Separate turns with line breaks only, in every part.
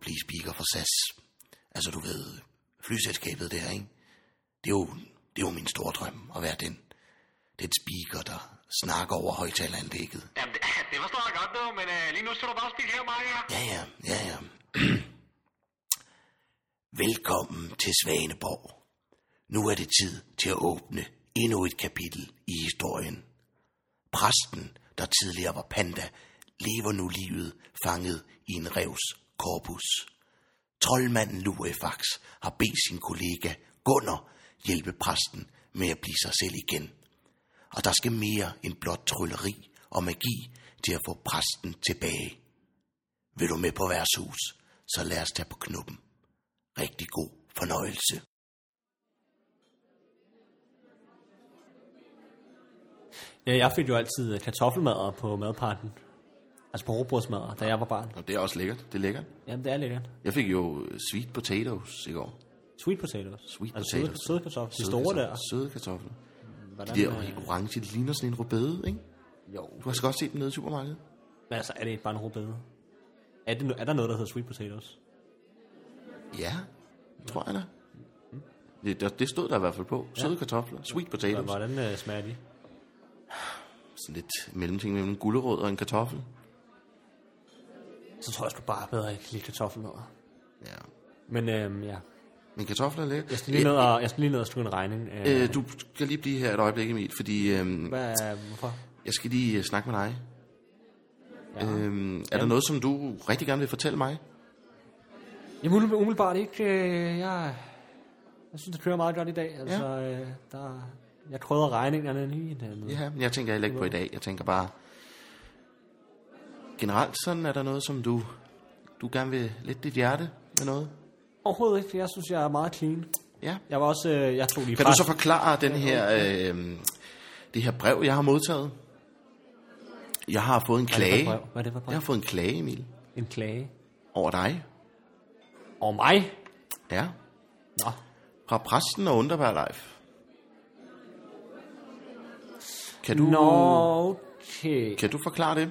blive speaker for SAS. Altså du ved, flyselskabet der, ikke? Det er jo, det er jo min store drøm at være den. Den speaker, der snakker over højtaleranlægget.
Jamen, det, det forstår jeg godt nu, men øh, lige nu skal du bare spise her, Maja.
Ja, ja, ja, ja. Velkommen til Svaneborg. Nu er det tid til at åbne endnu et kapitel i historien. Præsten, der tidligere var panda, lever nu livet fanget i en revs korpus. Troldmanden Luefax har bedt sin kollega Gunnar hjælpe præsten med at blive sig selv igen. Og der skal mere end blot trylleri og magi til at få præsten tilbage. Vil du med på værtshus, så lad os tage på knuppen. Rigtig god fornøjelse.
Ja, jeg fik jo altid øh, kartoffelmadder på madpakken. Altså på råbrødsmadder, da jeg var barn.
Og det er også lækkert, det er lækkert.
Jamen, det er lækkert.
Jeg fik jo øh, sweet potatoes i går.
Sweet potatoes.
Sweet
altså
potatoes.
Søde, søde kartofler. De
Søde
store
kartofler.
der.
Søde kartofler.
Hvordan,
De
øh,
der orange, de ligner sådan en rødbede, ikke?
Jo.
Du har så godt set dem nede i supermarkedet.
Men altså, er det ikke bare en rugbrød? Er, det, no- er der noget, der hedder sweet potatoes?
Ja, tror jeg da. Det, der, det stod der i hvert fald på. Søde kartofler, sweet
Og
potatoes.
Hvordan øh, smager de?
Sådan lidt mellemting mellem en gulerod og en kartoffel.
Så tror jeg sgu bare bedre, at jeg kan lide kartoffelmadder.
Ja.
Men øhm, ja,
Men kartofler er
jeg
lækkert.
skal lige ned og, jeg skal lige ned og sluge en regning. Øh,
Øh, du skal lige blive her et øjeblik, Emil, fordi øhm,
Hvad, øh, hvorfor?
jeg skal lige øh, snakke med dig.
Ja. Mm. Øh,
Øhm, er der noget, som du rigtig gerne vil fortælle mig?
Jamen umiddelbart- umiddelbart ikke. Øh, jeg, jeg synes, det kører meget godt i dag. Altså, ja. øh, der, jeg krydder regningerne lige en øh, anden.
Ja, men jeg tænker heller
Mm.
ikke på i dag. Jeg tænker bare... Generelt sådan er der noget, som du... Du gerne vil lidt dit hjerte med noget?
Overhovedet ikke, for jeg synes, jeg er meget clean.
Ja.
Jeg var også, øh, jeg tog lige
Kan du
fast.
så forklare den her, øh, det her brev, jeg har modtaget? Jeg har fået en
Hvad er det
klage.
for et brev? Hvad er det for et brev?
Jeg har fået en klage, Emil.
En klage.
Over dig.
Over mig?
Ja.
Nå.
Fra præsten og undervær Leif. Kan du,
Nå, okay.
kan du forklare det?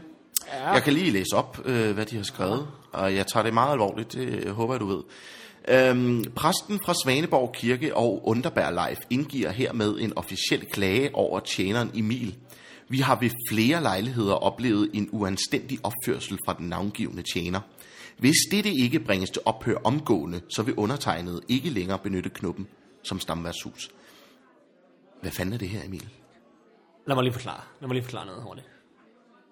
Ja. Jeg kan lige læse op, øh, hvad de har skrevet, og jeg tager det meget alvorligt, det øh, håber jeg, du ved. Øhm, præsten fra Svaneborg Kirke og Underberg Life indgiver hermed en officiel klage over tjeneren Emil. Vi har ved flere lejligheder oplevet en uanstændig opførsel fra den navngivende tjener. Hvis dette ikke bringes til ophør omgående, så vil undertegnet ikke længere benytte knuppen som stamværtshus. Hvad fanden er det her, Emil?
Lad mig lige forklare. Lad mig lige forklare noget hurtigt.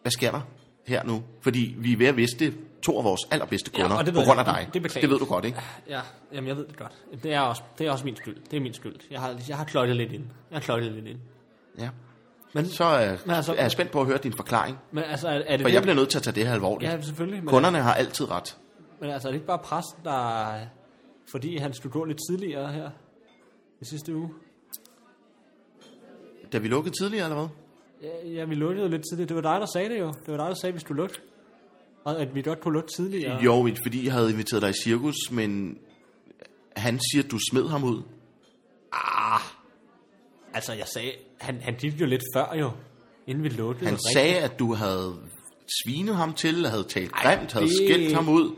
hvad sker der her nu? Fordi vi er ved at miste to af vores allerbedste kunder ja,
og det
på
ved
grund af
jeg.
dig.
Det- det beklager
det ved
jeg.
du godt, ikke?
Ja, jamen jeg ved det godt. Det er også, det er også min skyld. Det er min skyld. Jeg har, jeg har kløjtet lidt ind. Jeg har kløjtet lidt ind.
Ja.
Men,
Så er,
Men altså-
er jeg spændt på at høre din forklaring.
men altså, er, er det...
For jeg
det-
bliver nødt til at tage det her alvorligt.
Ja, selvfølgelig. Men,
Kunderne har altid ret.
men altså, er det ikke bare præsten, der... Fordi han skulle gå lidt tidligere her i sidste uge.
Da vi lukkede tidligere, eller hvad?
Ja, ja, vi lukkede jo lidt tidligere. Det var dig, der sagde det jo. Det var dig, der sagde, at vi skulle lukke. Og at vi godt kunne lukke tidligere.
Jo, fordi jeg havde inviteret dig i cirkus, men han siger, at du smed ham ud.
Altså, jeg sagde... Han, han gik jo lidt før jo, inden vi lukkede.
Han
Rigtig.
sagde, at du havde svinet ham til, havde talt grimt, havde
det-
skældt ham ud.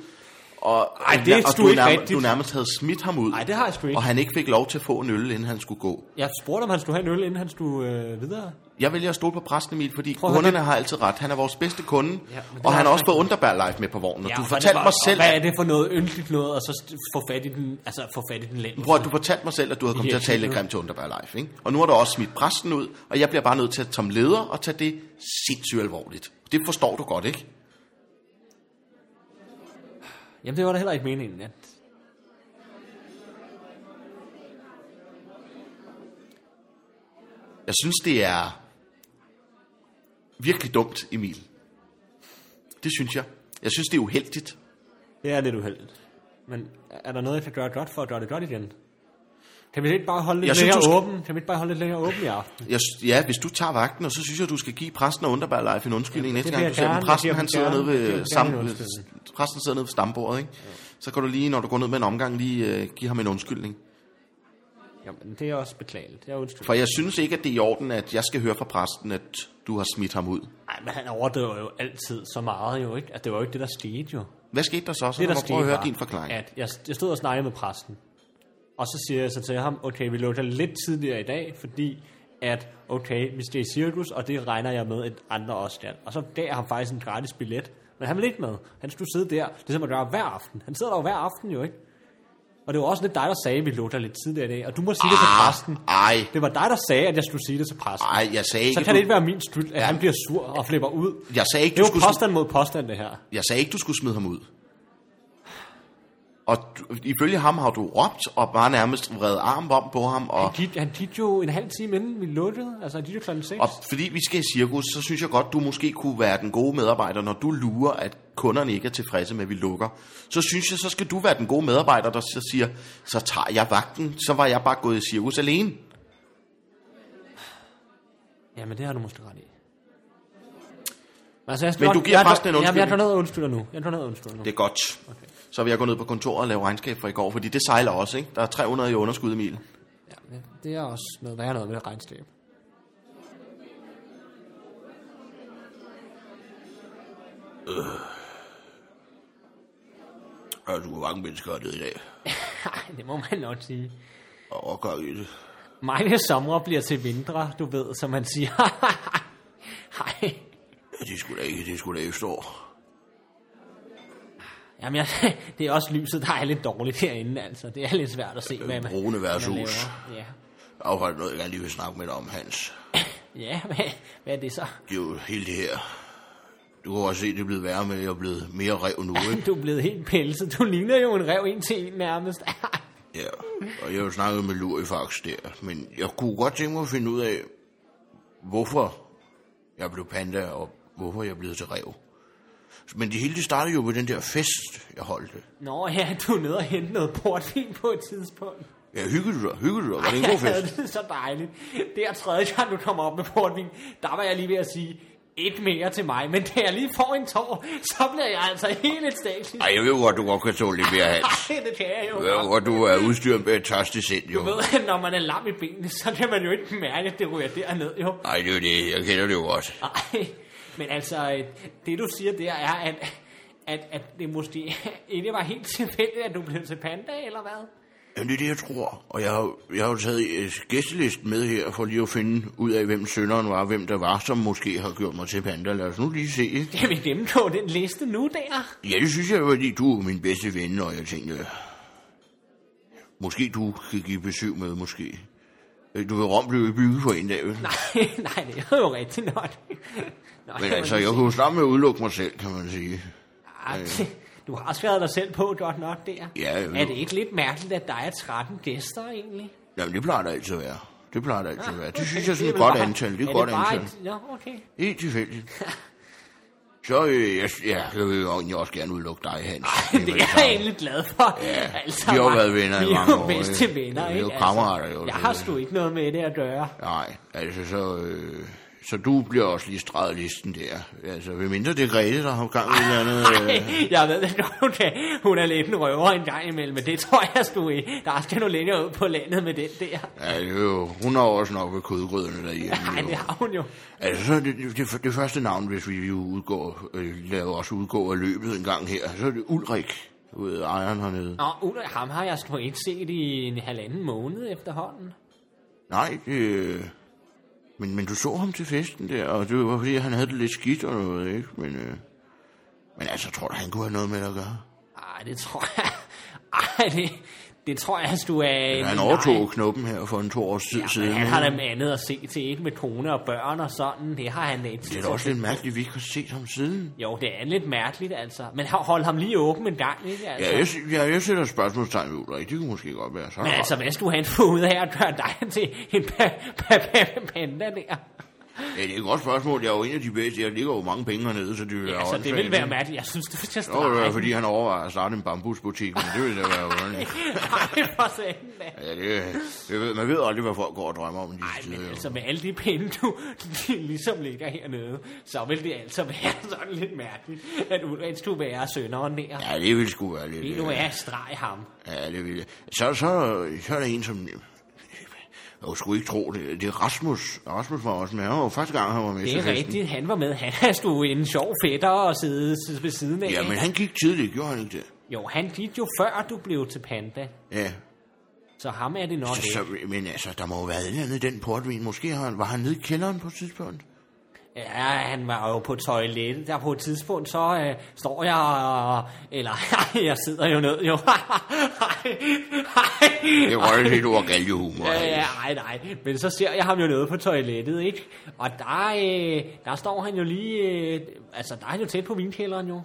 Og,
Ej, det er
og
sgu
du,
ikke
nærmest,
rigtigt.
du nærmest havde smidt ham ud.
Ej, det har jeg sgu ikke.
Og han ikke fik lov til at få en øl, inden han skulle gå.
Jeg spurgte, om han skulle have en øl, inden han skulle øh, videre.
Jeg vælger at stole på præsten Emil, fordi
Prøv
Prøv
at høre,
kunderne har altid ret. Han er vores bedste kunde, ja,
det
og
er
han har
også
også fået Underbær Life med på vognen. Ja, du
og
fortalte
hvad-
mig
og
selv,
Hvad er det for noget yndeligt noget, og så st- få fat i den, altså få fat i den lænd?
Prøv, at- du fortalte mig selv, at du havde kommet
Ja,
til at tale lidt
det-
grimt til Underbær Life, ikke? Og nu har du også smidt præsten ud, og jeg bliver bare nødt til at som leder og tage det sindssygt alvorligt. Det forstår du godt, ikke?
Jamen, det var da heller ikke meningen, at...
Jeg synes, det er virkelig dumt, Emil. Det synes jeg. Jeg synes, det er uheldigt.
Det er lidt uheldigt. Men er der noget, jeg kan gøre godt for at gøre det godt igen? Kan vi ikke bare holde lidt
Jeg
jeg
synes,
længere
du
synes,
skal-
åben? Kan vi ikke bare holde lidt længere åben i aften?
Jeg, sy- ja, hvis du tager vagten, og så synes jeg, du skal give præsten og Underbær Life en undskyldning
Ja,
næste
det
gang,
vil
du
jeg
ser
gerne.
dem.
Jeg
Præsten,
giver
han
dem
sidder
gerne-
nede
jeg giver
ved,
dem
sam,
gerne en undskyldning.
præsten sidder nede ved stambordet, ikke? Så kan du lige, når du går ned med en omgang, lige øh, give ham en undskyldning.
Jamen, det er også beklageligt. Jeg er undskyld.
For jeg synes ikke, at det er i orden, at jeg skal høre fra præsten, at du har smidt ham ud.
Nej, men han overdriver jo altid så meget jo, ikke? At det var jo ikke det, der skete jo.
Hvad skete der så? Så
Det,
det, der
der
prøve
skete,
at høre
var,
din forklaring.
at jeg, jeg stod og snakkede med præsten. Og så siger jeg så til ham, okay, vi lukker lidt tidligere i dag, fordi at, okay, vi skal i cirkus, og det regner jeg med, at andre også skal. Og så gav jeg ham faktisk en gratis billet. Men han ville ikke med. Han skulle sidde der, ligesom man gør hver aften. Han sidder der jo hver aften, jo ikke? Og det var også lidt dig, der sagde, at vi lukker lidt tidligere i dag. Og du må sige det til præsten.
Ej,
Det var dig, der sagde, at jeg skulle sige det til præsten.
Ah. ej, jeg sagde ikke,
Så kan det
du-
ikke være min skyld, at ja. han bliver sur og flipper ud.
Jeg sagde ikke,
Det
du
er jo
skulle,
påstand mod påstand, det her.
jeg sagde ikke, du skulle smide ham ud. Og du, ifølge ham har du råbt og bare nærmest vredet armen om på ham. Og,
Han gik, han gik jo en halv time inden vi lukkede, altså han gik jo klokken 6.
og fordi vi skal i cirkus, så synes jeg godt, du måske kunne være den gode medarbejder, når du lurer, at kunderne ikke er tilfredse med, at vi lukker. Så synes jeg, så skal du være den gode medarbejder, der så siger, så tager jeg vagten, så var jeg bare gået i cirkus alene.
Jamen det har du måske ret i. Altså, jeg skal
Men
nok-
du giver
jeg-
præsten en
Jamen, jeg
undskyldning.
går ned og undskylder nu. Jeg går ned og undskylder nu.
Det
Det.
er godt. Okay. Så vil jeg gå ned på kontoret og lave regnskab for i går, fordi det sejler også, ikke? Der er 300 i underskud, Emil.
Ja, det er også noget værre noget med det regnskab.
Ja, du hvor mange mennesker er det i dag.
Nej, det må man nok sige.
Og gør i det.
Mange somre bliver til vintre, du ved, som man siger. Hej.
Det er sgu da ikke, det er sgu da efterår.
Jamen, jeg, det er også lyset, der er lidt dårligt herinde, altså. Det er lidt svært at se, hvad man,
brune
hvad man
værtshus.
laver. Ja.
Afhold noget, jeg lige vil snakke med dig om, Hans.
Ja, hvad, hvad er det så?
Det er jo hele det her. Du kan også se, det er blevet værre med, at jeg er blevet mere rev nu, ikke?
Du er blevet helt pelset. Du ligner jo en rev en til en nærmest.
Ja. Og jeg har jo snakket med Lurifax der, men jeg kunne godt tænke mig at finde ud af, hvorfor jeg blev panda, og hvorfor jeg blev til rev. Men det hele det startede jo ved den der fest, jeg holdte.
Nå ja, du er nede og hente noget portvin på et tidspunkt.
Ja, hyggede du dig? Hyggede du dig? Var det en god
Jeg havde
fest?
det så dejligt. Det er tredje gang, du kommer op med portvin. Der var jeg lige ved at sige, et mere til mig. Men da jeg lige får en tår, så bliver jeg altså helt et statsligt.
Ej, jeg ved jo godt, du godt kan tåle lidt mere, Hans.
Ej, det kan jeg jo
Jeg ved jo
godt.
godt, du er udstyret med et tørstesind, jo.
Du ved, at når man er lam i benene, så kan man jo ikke mærke, at det ryger derned, jo.
Nej, det er jo det. Jeg kender det jo godt.
Ej, men altså, øh, det du siger der er, at, at, at det måske ikke var helt tilfældigt, at du blev til panda, eller hvad?
Jamen, det er det, jeg tror. Og jeg har, jo- jeg har jo taget øh, gæstelisten med her, for lige at finde ud af, hvem sønderen var, hvem der var, som måske har gjort mig til panda. Lad os nu lige se. ikke?
Kan vi gennemgå den liste nu der?
Ja, det synes jeg, fordi du er min bedste ven, og jeg tænkte... Måske du kan give besøg med, måske. Øh, Du ved, Rom blev jo bygget for en dag, vel?
Nej, nej, det er jo rigtigt nok. Nå,
Men
kan
altså,
man
jeg
sige.
kunne jo starte med at udelukke mig selv, kan man sige.
Ah, det- Du har skrevet dig selv på godt nok der.
Ja, jo.
er det ikke lidt mærkeligt, at der er 13 gæster egentlig? Ah,
Jamen, det plejer der altid at være. Det plejer der altid at være. Det synes jeg er sådan et
vel
godt
bare-
antal. Det er et
det
godt
bare
antal.
Et, Nå, okay.
Helt tilfældigt. Så øh, jeg, ja, jeg vil jo egentlig også gerne udelukke dig, Hans.
Det er jeg egentlig glad for. Ja, altså,
vi har jo
man-
været venner i
Vi er
mange
jo
år,
bedste
ikke?
venner,
Vi er
ikke? Altså,
jo kammerater, jo, det
Jeg har
er-
sgu ikke noget med det at gøre.
Nej, altså så... Øh, så du bliver også lige streget i listen der. Altså, ved mindre det er Grete, der har gang i et eller andet... Øh,
Jeg ved det godt, hun, kan, hun er lidt en røver en gang imellem, men det tror jeg sgu ikke. Der skal nu længere ud på landet med den der.
ja, det er jo, hun har også nok ved kødgryderne derhjemme.
Nej,
jo.
det har hun jo.
Altså, så er det, det, det, første navn, hvis vi jo udgår, øh, lader os udgå af løbet en gang her, så er det Ulrik, du ved, ejeren hernede.
Nå, Ulla, ham har jeg sgu ikke set i en halvanden måned efterhånden.
Nej, det... Men, men du så ham til festen der, og det var fordi, han havde det lidt skidt og noget, ikke? Men, øh... men altså, tror du, han kunne have noget med det at gøre?
Ej, det tror jeg... Ej, det, det tror jeg sgu er...
Ja,
en
han
nej.
overtog knappen her for en to års tid
Ja,
siden.
men han har da
ikke?
med andet at se til, ikke med kone og børn og sådan. Det har han da ikke
Det
tid
er da
til.
også lidt mærkeligt, at vi ikke har set ham siden.
Jo, det er lidt mærkeligt, altså. Men ho- hold ham lige åben en gang, ikke? Altså.
Ja, jeg, s- ja, jeg sætter spørgsmålstegn ved Ulrik. Det kunne måske godt være så.
Men altså, hvad skulle han få ud af at gøre dig til en pa- pa- pa- panda der?
Ja, det er et godt spørgsmål. Jeg er jo en af de bedste. Jeg ligger jo mange penge hernede, så det vil
Ja,
være
altså, det
åndssvagt,
ville være
ikke?
mærkeligt. Jeg synes, det var just
Nå, det var fordi han overvejer at starte en bambusbutik, men det ville da være underligt.
Ej, for satan, da.
Ja, det, det ved, man ved aldrig, hvad folk går og drømmer om i
Ej,
disse tider.
men
jo.
altså, med alle de pinde, du ligesom ligger hernede, så vil det altså være sådan lidt mærkeligt, at Ulrik skulle være sønderen der.
Ja, det ville sgu være lidt...
Det nu er streg ham.
Ja, det ville jeg. Så, så, så er der en, som... Jeg skulle ikke tro det. Det er Rasmus. Rasmus var også med. Han var jo første gang, han var med
Det
til
er
festen.
rigtigt, han var med. Han er sgu en sjov fætter at sidde s- ved siden af.
Ja, men han gik tidligt, gjorde han ikke det?
Jo, han gik jo før du blev til panda,
Ja.
så ham er det nok
Så,
ikke.
så, men altså, der må jo være et eller andet i den portvin. Måske har han, var han nede i kælderen på et tidspunkt.
Ja, han var jo på toilettet, der på et tidspunkt, så øh, står jeg og... Eller, jeg sidder jo ned, jo.
Det
det
røg lidt over galgehumor.
Ja, ja, nej, nej. Men så ser jeg ham jo nede på toilettet, ikke? Og der, øh, der står han jo lige... Øh, altså, der er han jo tæt på vinkælderen, jo.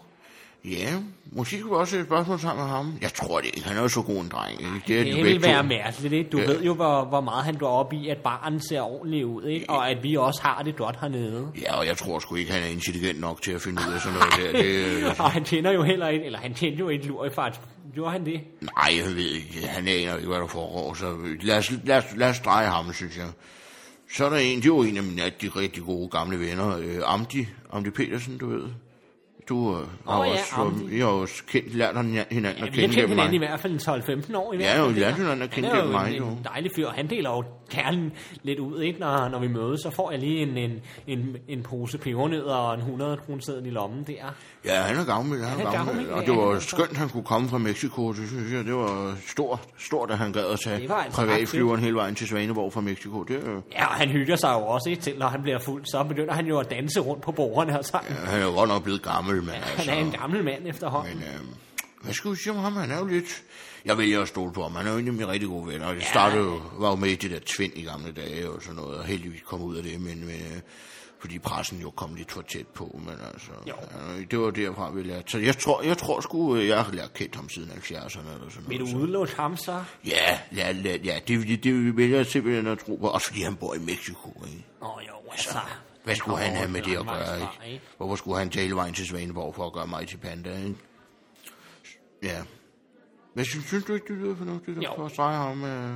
ja, måske skulle vi også have et spørgsmål sammen med ham. Jeg tror det ikke. Han er jo så god en dreng. Ikke? Det er
Det
de
ville
begge
være
to.
mærkeligt, ikke? Du
Ja.
ja. ved jo, hvor, hvor meget han går op i, at barnen ser ordentligt ud, ikke? Og at vi også har det godt hernede.
Ja, og jeg tror sgu ikke, han er intelligent nok til at finde ud af sådan noget der. Det,
Og han kender jo heller ikke... Eller han kendte jo ikke lurifart. Gjorde han det?
nej, jeg ved ikke. Han aner ikke, hvad der foregår. Så lad os, lad, os, lad os dreje ham, synes jeg. Så er der en, det var en af mine de rigtig gode gamle venner, øh, Amdi, Amdi Petersen, du ved. Du øh, har
Åh, ja,
også,
Amdi.
vi har også kendt, lært hinanden hinanden at
Vi har
kende
kendt
gennem
hinanden i
mig.
hvert fald en 12-15 år. I hvert
Ja,
fald,
jo, vi
ikke?
lærte hinanden at
Han
kende
er jo
gennem mig,
en-
jo.
en dejlig fyr, og han deler jo kernen lidt ud, ikke? Når, når vi mødes, så får jeg lige en, en, en, en pose pebernødder og en 100 kroner i lommen der.
Ja, han er gammel, han
Han
er
er
gammel.
gavmild,
Og
ja,
det
han
var
er
skønt, han kunne komme fra Mexico. Det synes jeg, det var stort, stort at han gad at tage
Det var altså
privatflyveren hele vejen til Svaneborg fra Mexico. Det, øh,
Ja, og han hygger sig jo også, ikke? Til når han bliver fuld, så begynder han jo at danse rundt på bordene og sådan.
han er jo godt nok blevet gammel, men
Han
altså...
er en gammel mand efterhånden.
Men, øh, hvad skal vi sige om ham? Han er jo lidt... Jeg vælger at stole på ham. Han er jo en af mine rigtig gode venner. Jeg startede jo, var jo med i det der tvind i gamle dage og sådan noget, og heldigvis kom ud af det, men, men øh, fordi pressen jo kom lidt for tæt på, men altså,
Jo.
øh, det var derfra, vi lærte. Så jeg tror, jeg tror sgu, øh, jeg har lært kendt ham siden 70'erne eller sådan
Vil
noget.
du
så-
udelukke ham så?
Ja, ja, ja, ja det, det, det vil jeg simpelthen at tro på, også fordi han bor i Mexico, ikke?
Åh oh, jo, altså.
Hvad skulle han
Åh,
have med det at
langt vej
gøre,
fra,
ikke? Hvorfor skulle han tage hele vejen til Svaneborg for at gøre mig til panda, ikke? Ja. Men synes, synes du ikke, det lyder fornuftigt at
Jo.
for at strege ham? Øh...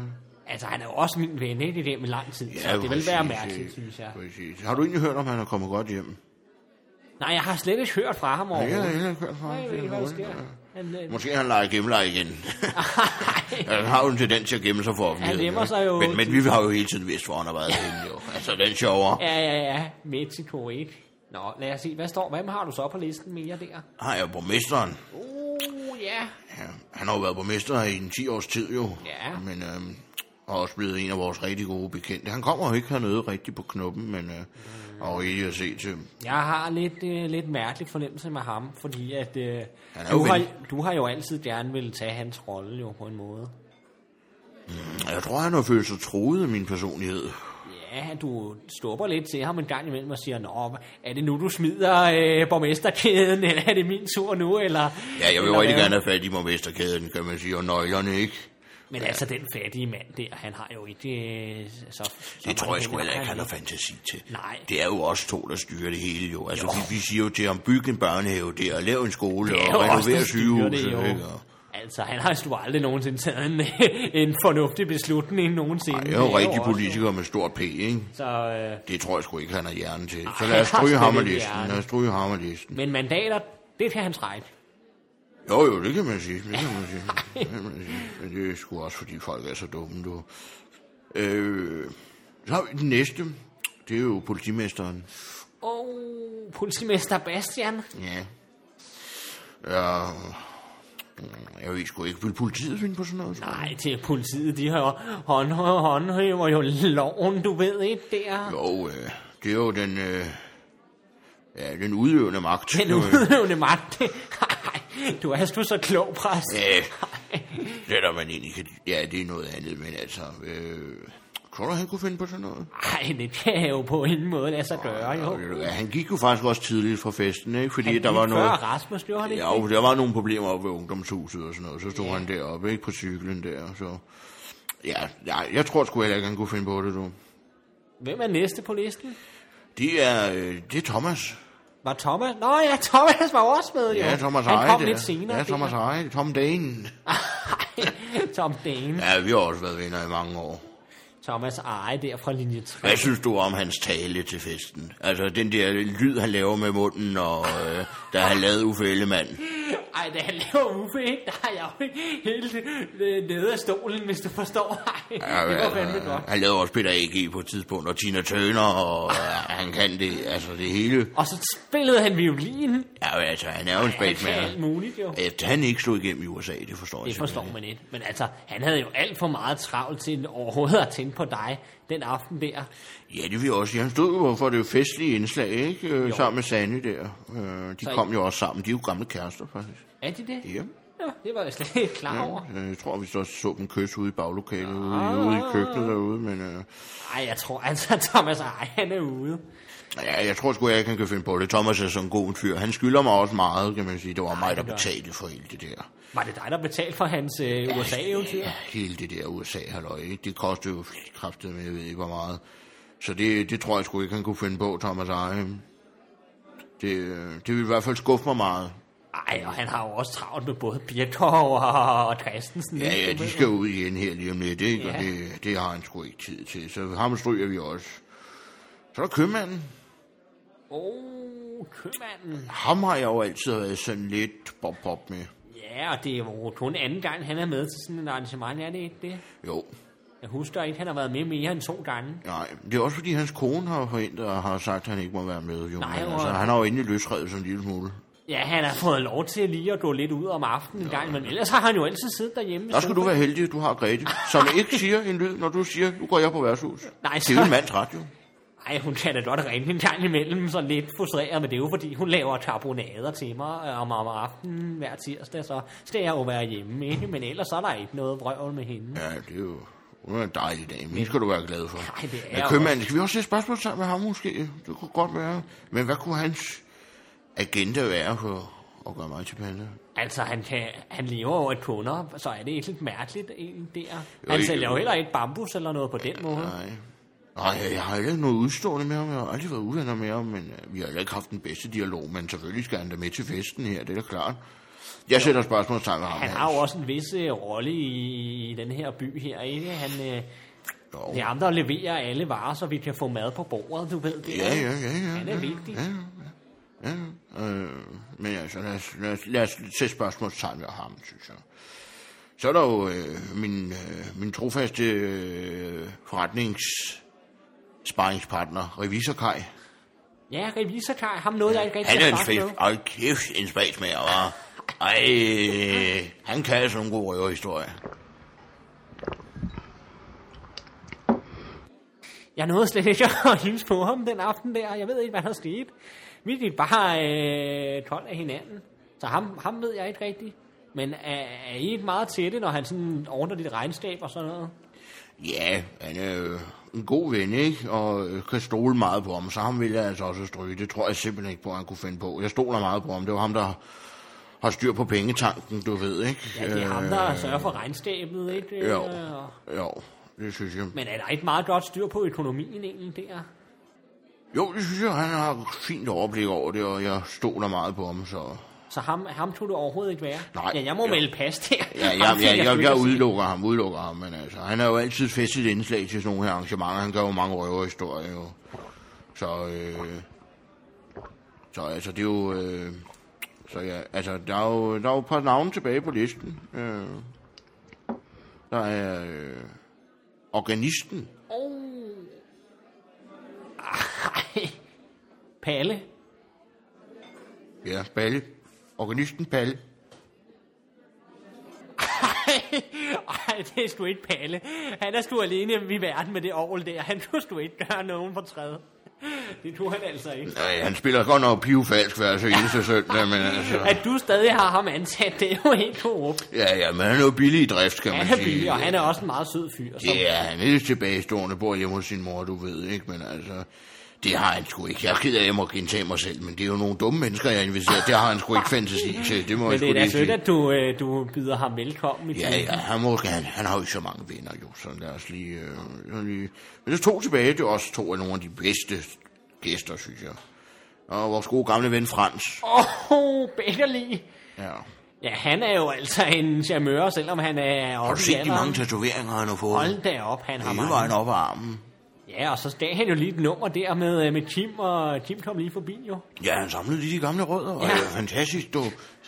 Altså, han er jo også min ven, ikke? Det er med lang tid, ja, så det vil være mærkeligt, synes jeg.
øh, Præcis. Har du egentlig hørt, om han er kommet godt hjem?
Nej, jeg har slet ikke hørt fra ham
Ja, jeg har
overhovedet.
heller ikke hørt fra
Nej,
ham. Det
jeg ved
er
ikke, hvad
hurtigt,
der sker.
ja.
Han, øh,
Måske han leger gemmer igen. han har jo en tendens til at gemme sig for offentligheden.
gemmer
ikke?
sig jo-
Men, men vi har jo hele tiden vidst, hvor han har været henne, jo. Altså, den er sjovere.
Ja, ja, ja. Mexico, ikke? Nå, lad os se. Hvad står, hvem har du så på listen mere der?
Har jeg borgmesteren.
Uh, ja.
Ja, han har jo været borgmester i en 10 års tid jo.
Ja.
Men øhm, er også blevet en af vores rigtig gode bekendte. Han kommer jo ikke hernede rigtig på knuppen, men øh, mm. og ikke at se til.
Jeg har lidt, øh, lidt mærkelig fornemmelse med ham, fordi at øh,
Han er jo
du, har,
ven.
du har jo altid gerne ville tage hans rolle jo på en måde.
Jeg tror, han har følt sig troet af min personlighed.
Ja, du stopper lidt til ham en gang imellem og siger, Nå, er det nu, du smider øh, borgmesterkæden, eller er det min tur nu, eller...
Ja, jeg vil
eller
jo rigtig
hvad?
gerne have fat i borgmesterkæden, kan man sige, og nøglerne, ikke?
Men altså, den fattige mand der, han har jo ikke... Øh, så, så
Det tror
mange
jeg sgu
hænder,
heller ikke, han
har
har fantasi til.
Nej.
Det er jo også to, der styrer det hele jo. Altså, vi, vi siger jo til ham, byg en børnehave der, og lav en skole,
Det er
og
jo også, der
renover
styrer
sygehuset,
det jo.
ikke? Og-
Altså, han har sgu aldrig nogensinde taget en, en fornuftig beslutning nogensinde.
Ej, jeg er jo
Det
rigtig
også-
politiker med stor P, ikke?
Så, øh,
Det tror jeg sgu ikke, han har hjernen til. Så
Ej,
lad os
han har
stryge
slet
ham af
ikke
listen.
hjerne.
Lad os stryge ham af listen.
men mandater, det kan han trække.
Jo, jo, det kan man sige. Det kan man sige. Det kan man sige. Men det er sgu også, fordi folk er så dumme, du. Øh, så har vi den næste. Det er jo politimesteren.
Åh, politimester Bastian.
Ja. Ja. Jeg ved sgu ikke, vil politiet finde på sådan noget? tror du?
Nej, til politiet, de har jo hånd, håndhæver jo loven, du ved ikke, der.
Jo, øh, det er jo den, øh, ja, den udøvende magt.
Den
jo, øh.
udøvende magt. Ej, du er sgu så klog, præst.
Ja, Øh, sætter man egentlig kan... Ja, det er noget andet, men altså... Øh, tror du, han kunne finde på sådan noget?
Ej, det kan jeg jo på ingen måde lade sig gøre, jo.
Ja, han gik jo faktisk også tidligt fra festen, ikke? Fordi
Han
der var
gik
noget...
Før Rasmus gjorde han ikke
Ja, jo, der var nogle problemer oppe ved ungdomshuset og sådan noget. Så stod han deroppe, ikke? På cyklen der, så... Ja, ja jeg tror sgu heller ikke, han kunne finde på det, du.
Hvem er næste på listen?
Det er, øh, det er Thomas.
Var Thomas? Nå ja, Thomas var også med, jo.
Ja, Thomas
Han
Eje,
kom
det
lidt
er.
senere.
Ja, Thomas Eje, Tom Dane.
Eje. Tom Dane.
Ja, vi har også været venner i mange år.
Thomas Eje der fra linje 3.
Hvad synes du om hans tale til festen? Altså, den der lyd, han laver med munden, og øh, da han lavede Uffe Ellemann.
Ej, da jeg laver Uffe, ikke, der har jeg jo ikke helt øh, nede af stolen, hvis du forstår. Ej, det var fandme godt.
Han lavede også Peter A.G. på et tidspunkt, og Tina Turner, og øh, han kan det, altså det hele.
Og så spillede han violin.
Ja, men altså, han er jo en
Han kan
spaceman.
alt muligt, jo.
At han ikke slog igennem i USA, det forstår jeg
Det
simpelthen
forstår man ikke. Men altså, han havde jo alt for meget travlt til overhovedet at tænke på dig den aften der.
Ja, det vil jeg også sige. Han stod jo for det festlige indslag, ikke? Øh, sammen med Sandy der. Øh, de
Så-
kom jo også sammen. De er jo gamle kærester, faktisk.
Er det det?
Ja.
Nå, det var jeg slet ikke klar over.
Øh, jeg tror, vi så så dem kysse ude i baglokalet, ude, ude i
Ah.
køkkenet derude, men... Øh,
Ej, jeg tror altså, Thomas Eje, han er ude.
ja, jeg tror sgu, jeg ikke, han kan finde på det. Thomas er sådan en god fyr. Han skylder mig også meget, kan man sige. Det var mig, der
det gør
betalte for hele det der.
Var det dig, der betalte for hans øh, USA-eventyr?
Ja, hele det der USA-halløj, ikke? Det kostede jo kraftet med, jeg ved ikke, hvor meget. Så det, det tror jeg sgu ikke, han kunne finde på, Thomas Eje. Det, øh, det vil i hvert fald skuffe mig meget.
Ej, og han har jo også travlt med både Birkov og, og Christensen.
Ja,
ikke?
ja, de skal ud igen her lige om lidt, ikke?
Ja.
Og det, det har han sgu ikke tid til, så ham stryger vi også. Så er der købmanden.
Åh, oh, købmanden.
Ham har jeg jo altid været sådan lidt bob-bob med.
Ja, og det er jo kun anden gang, han er med til sådan en arrangement, er det ikke det?
Jo,
Jeg husker ikke, han har været med mere end to gange.
nej. Det er også fordi, hans kone har forhindret og har sagt, at han ikke må være med. Jo,
Nej,
men
hvor-
altså, han har jo endelig løsrevet sådan en lille smule.
Ja, han har fået lov til lige at gå lidt ud om aftenen en gang, men ellers har han jo altid siddet derhjemme.
Der skal du være heldig, du har Grete, som ikke siger en lyd, når du siger, nu går jeg på værtshus.
Nej,
Det er jo en
så...
mands radio.
Ej, hun kan da godt ringe en gang imellem, så lidt frustreret, men det er jo fordi, hun laver karbonader til mig øh, om, om aftenen hver tirsdag, så skal jeg jo være hjemme, ikke? Men ellers så er der ikke noget vrøvl med hende.
Ja, det er jo hun er en dejlig dame. Hende skal du være glad for.
Nej, det er
Men
jeg
købmanden, skal vi også se spørgsmål sammen med ham måske? Det kunne godt være. Men hvad kunne hans agenda være for at gøre mig til panda?
Altså, han, kan, han lever jo af kunder, så er det ikke lidt mærkeligt egentlig der. Han
ikke-
sælger jo heller ikke bambus eller noget på den måde.
Nej. Nej, jeg- jeg har heller ikke noget udstående med ham. Jeg har aldrig været uvenner med ham, men øh, vi har heller ikke haft den bedste dialog. Men selvfølgelig skal han da med til festen her, det er da klart. Jeg sætter spørgsmålstegn ved ham.
Han
Hans.
har jo også en vis øh, rolle i, i den her by her, ikke? Han, øh,
Jo.
det er ham, der leverer alle varer, så vi kan få mad på bordet, du ved det.
Ja, ja, ja, ja.
Han er
ja,
vigtig.
Ja, ja, ja. Øh, men altså, lad os, lad os, lad os sætte spørgsmålstegn ved ham, synes jeg. Så er der jo øh, min, øh, min trofaste øh, forretnings sparringspartner, revisor Kai.
Ja, revisorkar, ham noget, jeg ikke rigtig
Han er
har
en
sagt
fedt,
noget.
og kæft en spagsmager, hva'? Ej, han kan sådan en god røverhistorie.
Jeg nåede slet ikke at hilse på ham den aften der. Jeg ved ikke, hvad der skete. Vi gik bare øh, kold af hinanden. Så ham, ham ved jeg ikke rigtigt. Men er, er I ikke meget til det, når han sådan ordner dit regnskab og sådan noget?
Ja, han er jo en god ven, ikke? Og øh, kan stole meget på ham, så ham vil jeg altså også stryge. Det tror jeg simpelthen ikke på, han kunne finde på. Jeg stoler meget på ham. Det var ham, der har styr på pengetanken, du ved, ikke?
Ja, det er ham, der sørger for regnskabet, ikke? Øh,
Øh. Jo,
og-
jo, det synes jeg.
Men er der ikke meget godt styr på økonomien egentlig der?
Jo, det synes jeg, han har et fint overblik over det, og jeg stoler meget på ham, så...
Så ham, ham tog det overhovedet ikke være?
Nej.
Ja, jeg må
Jo.
melde pas der.
Ja, jeg,
Ham
jeg, jeg,
fik
jeg,
sgu ikke at se.
udelukker ham, udelukker ham, men altså, han har jo altid festet indslag til sådan nogle her arrangementer. Han gør jo mange røverhistorier, jo. Så, øh, så altså, det er jo, øh, så ja, altså, der er jo, der er jo et par navne tilbage på listen. Øh, der er, øh, organisten.
Ej. Palle.
Ja, Palle. Organisten Palle.
Ej, det er sgu ikke Palle. Han er sgu alene i verden med det ovl der. Han kunne sgu ikke gøre nogen for træde. Det kunne han altså ikke.
Nej, han spiller godt nok pivfalsk hver så eneste søndag, men altså...
At du stadig har ham ansat, det er jo helt korrupt.
Ja, ja, men han er jo billig i drift, kan man
Han
sige.
er billig, og han er også en meget sød fyr. Som,
Ja, han er lidt tilbagestående, bor hjemme hos sin mor, du ved, ikke? Men altså, det har han sgu ikke. Jeg er ked af, at jeg må gentage mig selv, men det er jo nogle dumme mennesker, jeg inviterer. Det har han sgu ikke fantasi til, det må jeg sgu
Ah. men det er da
lige
sødt,
sige.
at du, øh, du byder ham velkommen i
Ja,
klubben.
ja, han, må, han, han har jo ikke så mange venner, jo, så lad os lige... Øh, så lige. Men det er to tilbage, det er også to af nogle af de bedste gæster, synes jeg. Og vores gode gamle ven Frans.
Åh, oh, Beckerli.
Ja.
Ja, han er jo altså en charmør, selvom han er
Har
oppe
du
i
set de
alderen.
mange tatoveringer, han har fået?
Hold da op, han har
Hele
mange.
vejen op ad armen.
Ja, og så gav han jo lige et nummer der med, øh, med Kim, og Kim kom lige forbi jo.
Ja, han samlede lige de gamle rødder, og
Ja.
ja. det er fantastisk, du.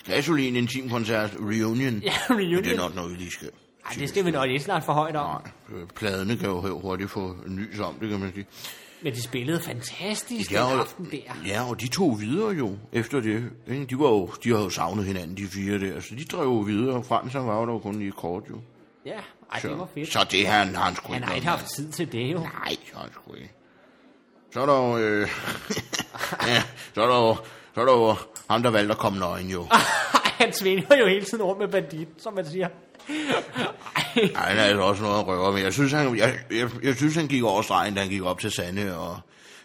Gasolin Intimkoncert Reunion.
Ja,
Men det er
reunion.
nok noget, vi lige skal...
Ej, det skal vi nok ikke snart for højt om.
Nej, øh, pladene kan jo hurtigt få nys om det, kan man sige.
Men de spillede fantastisk
Ja,
den
og,
aften der.
ja, og de to videre jo, efter det. Ikke? De, var jo, de har jo savnet hinanden, de fire der, så de drev jo videre. Frans han var jo der kun lige kort jo.
Ja, ej, det var
Så,
fedt.
så det her, han har han sgu
Han
ikke.
har
noget
ikke haft tid til det jo.
med. Nej, så har han sgu ikke. Så er der jo... Øh, ja, så er der jo, så er der jo ham, der valgte at komme nøgen jo.
Ej, han svinger jo hele tiden rundt med banditten, som man siger. Ej,
Nej, han er altså også noget at røre med. Jeg synes, han, jeg, jeg, jeg synes, han gik over stregen, da han gik op til Sanne og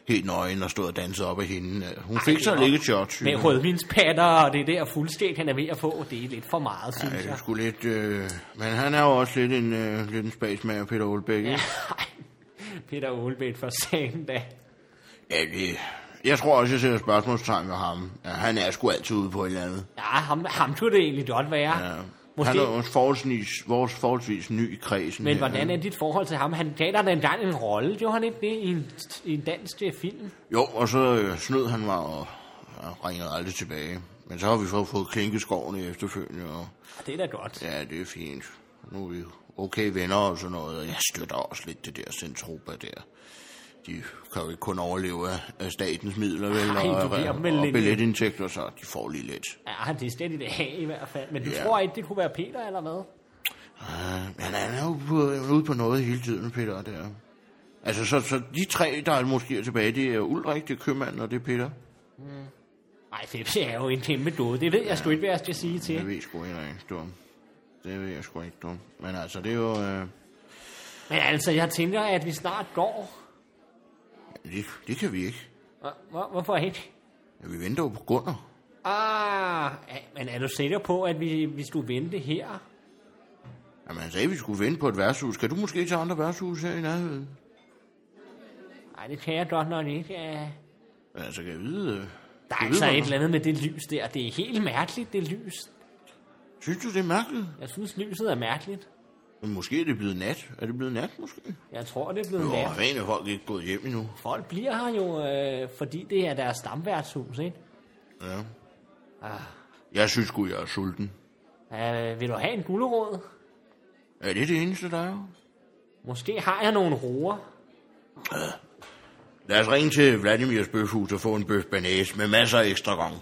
helt nøgen og stod og dansede op af hende. Hun fik
det
så
var-
ligge shots. jo.
med rødvinspatter og det der fuldskæg, han er ved at få, det er lidt for meget, synes
Ja,
jeg.
jeg skulle lidt, øh, men han er jo også lidt en, øh, lidt en spagsmager, Peter Olbæk. Ja.
Ej, Peter Olbæk for sagen da.
Ja, det, jeg tror også, jeg sætter spørgsmålstegn ved ham. Ja, han er sgu altid ude på et eller andet.
Ja, ham, ham kunne det egentlig godt være.
Ja.
Måske,
Han er jo også forholdsvis, vores forholdsvis ny i kredsen.
men
her,
hvordan
ikke?
er dit forhold til ham? Han gav dig da engang en rolle, gjorde han ikke det, i en, i en dansk øh, film?
Jo, og så øh, snød han mig og, og ringede aldrig tilbage. Men så har vi så fået klinkeskovene efterfølgende, og
Det er da godt.
ja, det er fint. Nu er vi okay venner og sådan noget, og jeg støtter også lidt det der centropa der. De kan jo ikke kun overleve af, af statens midler, vel,
Ej,
og,
det er
og,
vel
og
lidt-
billetindtægter, så de får lige lidt.
Ja, det er slet ikke af i hvert fald. Men du
Ja.
tror ikke, det kunne være Peter eller hvad?
Ja, men Ah, han er jo på, ude på noget hele tiden, Peter, der. Altså, så, så de tre, der er måske er tilbage, det er Ulrik, det er købmanden, og det er Peter.
Nej, Pepsi er jo en kæmpe døde. Det ved jeg sgu ikke, hvad jeg skal sige
Det
til.
ved jeg sgu ikke rigtig, du. Det ved jeg sgu ikke, du. Men altså, det er jo... Øh,
Men altså, jeg tænker, at vi snart går.
det, det, kan vi ikke.
Hvor- hvor- Hvorfor ikke?
Ja, vi venter jo på Gunnar.
Ah, ja, men er du sikker på, at vi, vi skulle vente her?
Jamen, han sagde, at vi skulle vente på et værtshus. Kan du måske tage andre værtshus her i nærheden?
Nej, det kan jeg godt nok ikke. ja.
Altså, kan jeg vide... Øh,
Der er
kan jeg
altså
vide, hvornår?
et eller andet med det lys der. Det er helt mærkeligt, det lys.
Synes du, det er mærkeligt?
Jeg synes, lyset er mærkeligt.
Men måske er det blevet nat. Er det blevet nat, måske?
Jeg tror, det er blevet
Jo,
nat.
hvad fanden er folk ikke gået hjem endnu?
Folk bliver her jo, øh, fordi det er deres stamværtshus, ikke?
Ja. Ah. Jeg synes sgu, jeg er sulten.
Øh, vil du have en gulerod?
Er det det eneste, der er?
Måske har jeg nogle roer.
Lad os ringe til Vladimirs bøfhus og få en bøf banæs med masser af ekstra gang.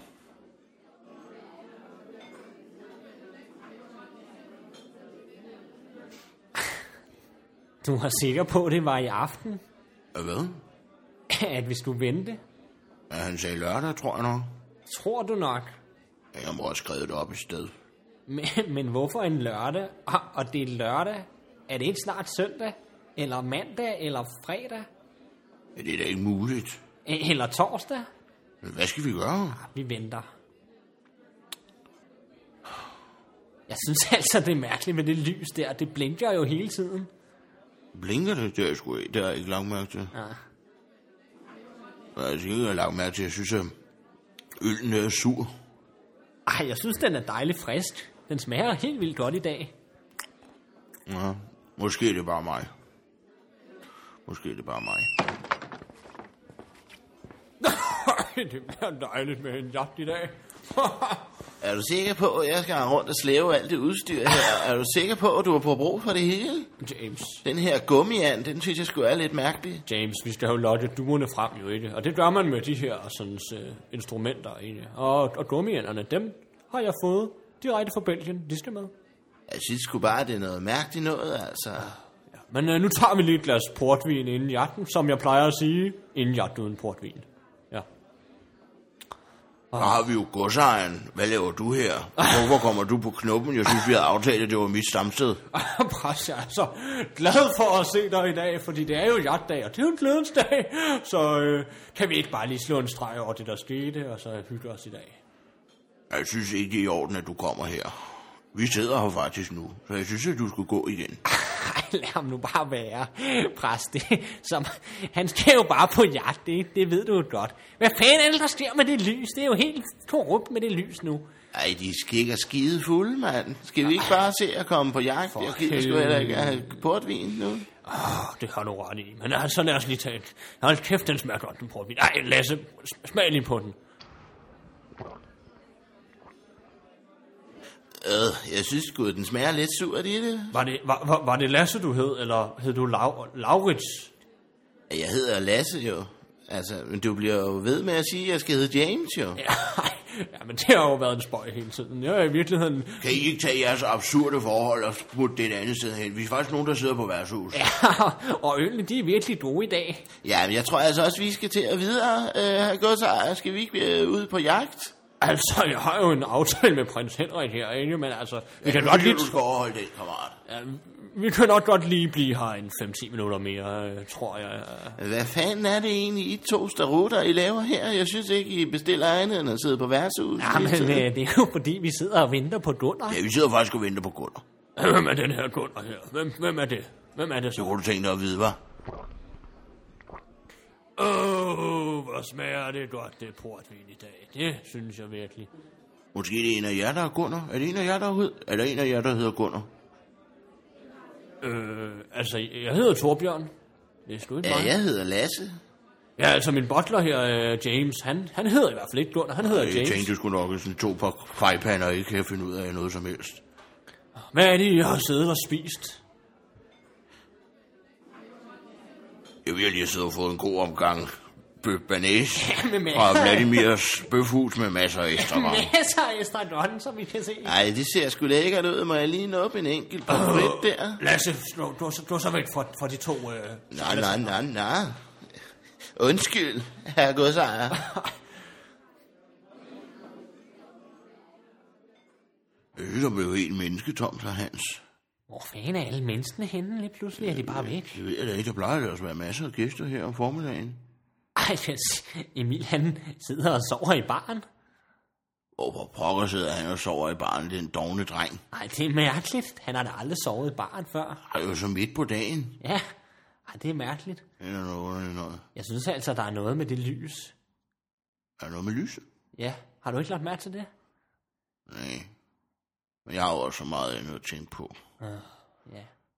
Du var sikker på, at det var i aften,
Og hvad?
at vi skulle vente?
Ja, han sagde lørdag, tror jeg nok.
Tror du nok.
Ja, Jeg må have skrevet det op et sted.
Men, men hvorfor en lørdag? Og, og det er lørdag. Er det ikke snart søndag? Eller mandag? Eller fredag?
Ja, det er da ikke muligt.
E- Eller torsdag? Ah,
Men hvad skal vi gøre?
Vi venter. Jeg synes altså, det er mærkeligt med det lys der. Det blinker jo hele tiden.
Blinker det? Det har jeg, sgu ikke, det har jeg ikke lagt mærke til.
Ah.
Jeg har ikke har lagt mærke til. Jeg synes, at øllen er sur.
Ej, jeg synes, den er dejlig frisk. Den smager helt vildt godt i dag.
Ja, måske er det bare mig. Måske er det bare mig.
det bliver dejligt med en jagt i dag.
Er du sikker på, at jeg skal rundt og slæve alt det udstyr her? Er du sikker på, at du har på brug for det hele?
James.
Den her gummiand, den synes jeg skulle er lidt mærkelig.
James, vi skal jo lotte duerne frem, jo ikke? Og det gør man med de her sådan, uh, instrumenter, ikke? Og, og gummiænderne, dem har jeg fået direkte fra Belgien. De skal med.
Jeg synes sgu bare, det er noget mærkeligt noget, altså.
Ja. Men uh, nu tager vi lige et glas portvin inden jagten, som jeg plejer at sige. Inden jagt uden portvin. Ja.
Så har vi jo godsejeren. Hvad laver du her? Hvorfor kommer du på knoppen? Jeg synes, vi havde aftalt, at det var mit stamsted.
Præs, jeg er så glad for at se dig i dag, fordi det er jo jagtdag, og det er jo en glædens dag. Så øh, kan vi ikke bare lige slå en streg over det, der skete, og så hygge os i dag.
Jeg synes ikke, det er i orden, at du kommer her. Vi sidder her faktisk nu, så jeg synes, at du skulle gå igen.
Ej, lad ham nu bare være, præst. Det, som, han skal jo bare på jagt, det, det ved du jo godt. Hvad fanden er det, der sker med det lys? Det er jo helt korrupt med det lys nu.
Ej, de skikker skide fulde, mand. Skal vi ikke bare se at komme på jagt? Jeg gider sgu
helvede.
heller ikke at have portvin nu.
Åh, det har du ret i. Men altså, så lad os lige tage et. Hold kæft, den smager godt, den portvin. Ej, Lasse, sm- smag lige på den.
Øh, jeg synes sgu, den smager lidt surt i det.
Var det, var, var, var det Lasse, du hed, eller hed du Lav, Laurits?
Jeg hedder Lasse jo. Altså, men du bliver jo ved med at sige, at jeg skal hedde James jo.
Ja, ej, ja, men det har jo været en spøj hele tiden. Jeg er i virkeligheden...
Kan I ikke tage jeres absurde forhold og smutte det et andet sted hen? Vi er faktisk nogen, der sidder på værtshus. Ja,
og ølene, de er virkelig gode i dag.
ja men jeg tror altså også, vi skal til at videre. Øh, herr Godsejer, skal vi ikke øh, ud på jagt?
Altså, jeg har jo en aftale med prins Henrik herinde, men altså... Vi kan godt lige...
Du skal overholde den, kammerat.
Ja, vi kan nok godt lige blive her en 5-10 minutter mere, øh, tror jeg.
Hvad fanden er det egentlig, I to starutter, I laver her? Jeg synes ikke, I bestiller andet end at sidde på værtshus.
Ja, men øh, det er jo fordi, vi sidder og venter på Gunnar.
Ja, vi sidder faktisk og venter på Gunnar.
Hvem er den her Gunnar her? Hvem, hvem er det? Hvem er det
Det
så?
kunne du tænke dig at vide, hva'?
Åh, oh, hvor smager det godt, det portvin i dag. Det synes jeg virkelig.
Måske det er en af jer, der er Gunnar. Er det en af jer, der hed? Er der en af jer, der hedder Gunnar?
Øh, altså, jeg hedder Torbjørn. Det er sgu ikke
Ja,
mig.
jeg hedder Lasse.
ja, altså min butler her, øh, James, han, han hedder i hvert fald ikke Gunnar, han hedder
Jeg
Øh, James.
tænkte, du skulle nok sådan to par fejpander ikke kan finde ud af noget som helst.
Hvad er det, jeg har siddet og spist?
Jeg vil lige sidde og fået en god omgang bøf banæs
Jamen, men-
fra Vladimirs bøfhus med masser af ekstramang.
Masser af estradotten, som vi kan se.
Nej, det ser sgu lækkert ud. Må jeg lige nå op en enkelt pomfrit der?
Lasse, slå, du, er så- du er så væk fra, fra de to... Øh,
Nej, nej, nej, nej. Undskyld, herre godsejer. Øh, der blev jo en menneske tom, så Hans.
hvor fanden er alle menneskene henne lige pludselig? Er de bare væk?
Det ved jeg da ikke, der plejer der også at være masser af gæster her om formiddagen.
Ej, yes. Emil han sidder og sover i baren.
Og på pokker sidder han og sover i barnet, den dogne dreng.
Ej, det er mærkeligt. Han har da aldrig sovet i baren før.
Ej, det er jo så midt på dagen.
Ja, Ej, det er mærkeligt.
Eller noget underligt noget.
Jeg synes altså, der er noget med det lys.
Er der noget med lyset?
Ja, har du ikke lagt mærke til det?
Nej. Men jeg har jo også så meget andet at tænke på.
Ja.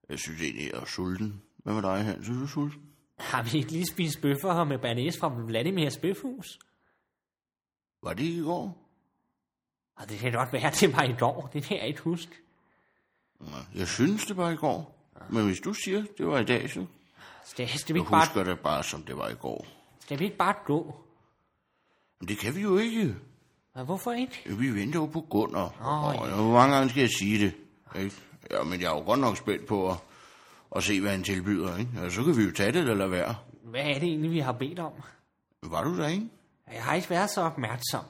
Jeg synes egentlig, jeg er sulten. Hvad med dig, Hans? Er du sulten?
Har vi ikke lige spist bøffer her med banæs fra Vladimirs bøfhus?
Var det i går?
Og det kan godt være, at det var i går. Det kan jeg ikke huske.
Nej, Jeg synes, det var i går. Men hvis du siger, det var i dag, så
Skal, skal, vi,
jeg
ikke bare,
husker det bare, som det var i går.
skal vi ikke bare gå?
Men det kan vi jo ikke.
Og Hvorfor ikke?
Vi venter jo på Gunnar. Oh, og hvor mange gange skal jeg sige det? Ikke? Ja, men jeg er jo godt nok spændt på at, at se, hvad han tilbyder. Ikke? Og så kan vi jo tage det eller lade være.
Hvad er det egentlig, vi har bedt om?
Var du der, ikke?
Jeg har ikke været så opmærksom.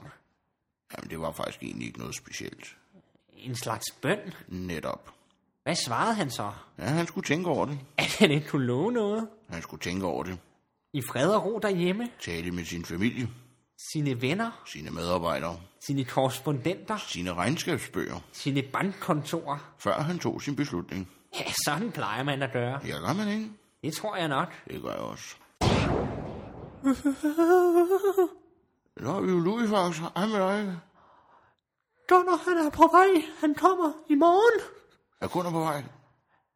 Jamen, det var faktisk egentlig ikke noget specielt.
En slags bøn.
Netop.
Hvad svarede han så?
Ja, han skulle tænke over det.
At han ikke kunne love noget?
Han skulle tænke over det.
I fred og ro derhjemme?
Tale med sin familie,
Sine venner?
sine medarbejdere,
Sine korrespondenter?
sine regnskabsbøger,
Sine bankkontorer?
før han tog sin beslutning.
Ja, sådan plejer man at gøre.
Ja, gør man ikke?
Det tror jeg nok.
Det gør jeg også. Så er vi jo Louis faktisk. Hej med dig.
Gunnar, han er på vej. Han kommer i morgen.
Er kunder på vej?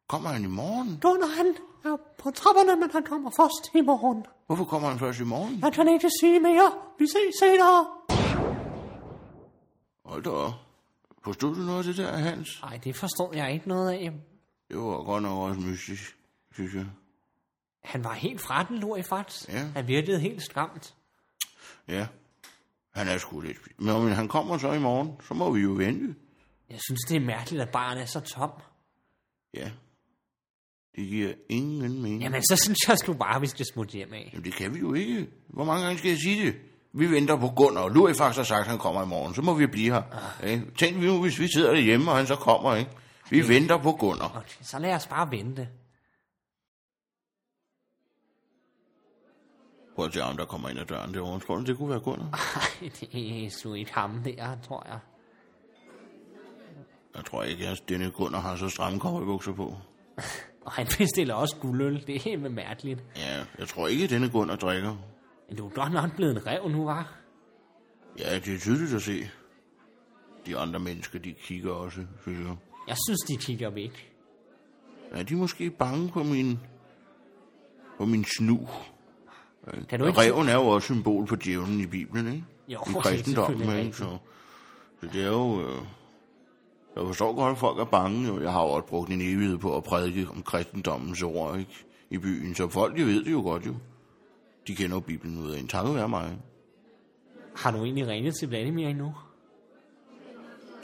Kommer han i morgen?
Gunnar, han er på trapperne, men han kommer først i morgen.
Hvorfor kommer han først i morgen?
Jeg kan ikke sige mere. Vi ses senere.
Hold da op. Forstod du noget af det der, Hans?
Nej, det forstod jeg ikke noget af.
Det var godt nok også mystisk, synes jeg.
Han var helt fra den, lå i fart.
Ja.
Han virkede helt skræmt.
Ja. Han er sgu lidt... spi- Nå, men han kommer så i morgen. Så må vi jo vente.
Jeg synes, det er mærkeligt, at baren er så tom.
Ja. Det giver ingen mening.
Jamen, så synes jeg sgu bare, vi skal smutte hjem af.
Jamen, det kan vi jo ikke. Hvor mange gange skal jeg sige det? Vi venter på Gunnar, og Louis faktisk har sagt, at han kommer i morgen. Så må vi blive her. Ah. Tænk vi nu, hvis vi sidder derhjemme, og han så kommer, ikke? Vi venter på Gunnar.
Okay, så lad os bare vente.
Prøv at se om der kommer ind ad døren derovre. Tror du, det kunne være Gunnar?
Nej, det er sgu ikke ham der, tror jeg.
Jeg tror ikke, at denne Gunnar har så stramme cowboybukser på.
Og han bestiller også guldøl. Det er helt mærkeligt.
Ja, jeg tror ikke, at denne Gunnar drikker.
Men du er godt nok blevet en rev nu, var?
Ja, det er tydeligt at se. De andre mennesker, de kigger også, synes jeg.
Jeg synes, de kigger væk.
Er de måske bange på min på min snu.
Kan du ikke
Reven er jo også symbol på djævlen i Bibelen, ikke?
Jo,
I
det er
kristendommen,
selvfølgelig
ikke? Så, så det er jo... Øh, jeg forstår godt, at folk er bange. jo. Jeg har jo også brugt en evighed på at prædike om kristendommens ord, ikke? I byen, så folk, de ved det jo godt, jo. De kender jo Bibelen ud af en tanke af mig.
Har du egentlig ringet til Vladimir endnu?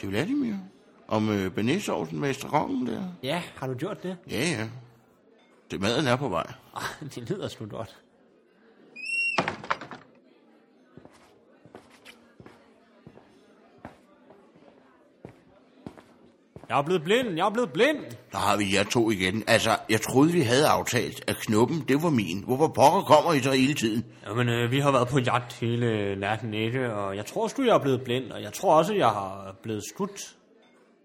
Det er Vladimir. Om øh, benæssovsen med restauranten der.
Ja, har du gjort det?
Ja, ja. Det maden er på vej.
Ah, det lyder sgu godt. Jeg er blevet blind, jeg er blevet blind.
Der har vi jer to igen. Altså, jeg troede, vi havde aftalt, at knuppen, det var min. Hvorfor pokker kommer I så hele tiden?
Jamen, øh, vi har været på jagt hele natten, ikke? Og jeg tror sgu, jeg er blevet blind, og jeg tror også, jeg har blevet skudt.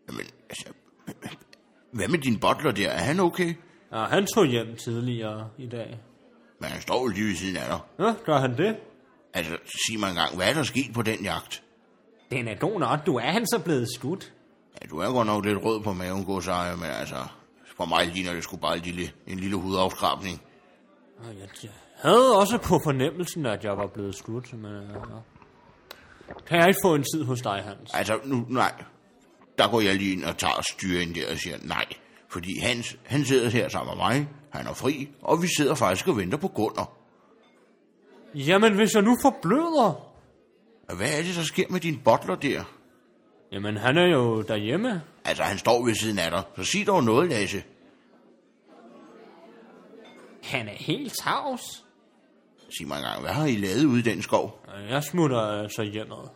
Jamen, altså... Hvad med din butler der? Er han okay?
Ja, han tog hjem tidligere i dag.
Men han står jo lige ved siden af dig.
Ja, gør han det?
Altså, sig mig engang, hvad er der sket på den jagt?
Den er god nok. Du er han så blevet skudt.
Ja, du er godt nok lidt rød på maven, godsejer, men altså... For mig ligner det sgu bare en lille, en lille hudafskrabning.
Og Jeg jeg havde også på fornemmelsen, at jeg var blevet skudt, men... øh, ja. Kan jeg ikke få en tid hos dig, Hans?
Altså, nu, nej. Der går jeg lige ind og tager styringen der og siger nej. Fordi Hans, han sidder her sammen med mig, han er fri, og vi sidder faktisk og venter på Gunnar.
Jamen, hvis jeg nu forbløder...
Og Hvad er det, der sker med din butler der?
Jamen, han er jo derhjemme.
Altså, han står ved siden af dig, så sig dog noget, Lasse.
Han er helt tavs.
Sig mig engang, hvad har I lavet ude i den skov?
Og Jeg smutter altså hjemad.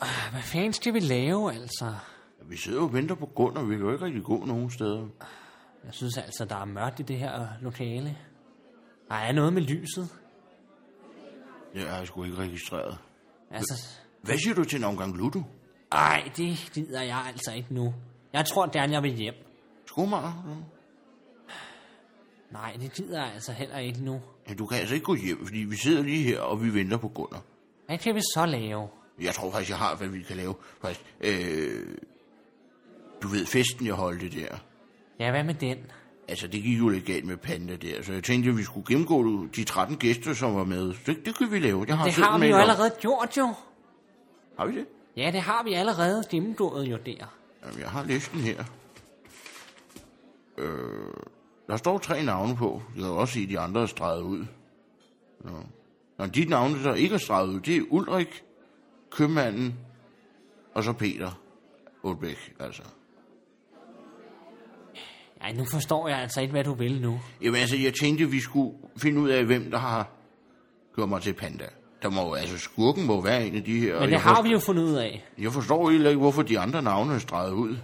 Ah, Hvad fanden skal vi lave, altså?
Ja, Vi sidder jo og venter på Gunnar, vi kan jo ikke rigtig gå nogen steder.
Jeg synes altså, der er mørkt i det her lokale. Der er noget med lyset.
Det har jeg sgu ikke registreret.
Altså,
Hvad siger du til en omgang Ludo?
Ej, det gider jeg altså ikke nu. Jeg tror gerne, jeg vil hjem.
Skomager?
Nej, det gider jeg altså heller ikke nu.
Ja, du kan altså ikke gå hjem, fordi vi sidder lige her, og vi venter på Gunnar.
Hvad kan vi så lave?
Jeg tror faktisk, jeg har, hvad vi kan lave. Faktisk, øh, du ved, festen, jeg holdte der.
Ja, hvad med den?
Altså, det gik jo lidt galt med panda der, så jeg tænkte, at vi skulle gennemgå de 13 gæster, som var med. Det, det kan vi lave. Jeg har
Det
selv
har vi
med
jo
nok.
allerede gjort, jo.
Har vi det?
Ja, det har vi allerede gennemgået jo der.
Jamen, jeg har listen her. Øh, der står tre navne på. Jeg kan jo også se, at de andre er streget ud. Nå. Nå, de navne, der ikke er streget ud, det er Ulrik, købmanden, og så Peter Ulbæk, altså.
Ej, nu forstår jeg altså ikke, hvad du vil nu.
Jamen altså, jeg tænkte, vi skulle finde ud af, hvem der har gjort mig til panda. Der må jo, altså, skurken må være en af de her. og
Men det
jeg,
har
forstår,
vi jo fundet ud af.
jeg forstår heller ikke, hvorfor de andre navne er streget ud.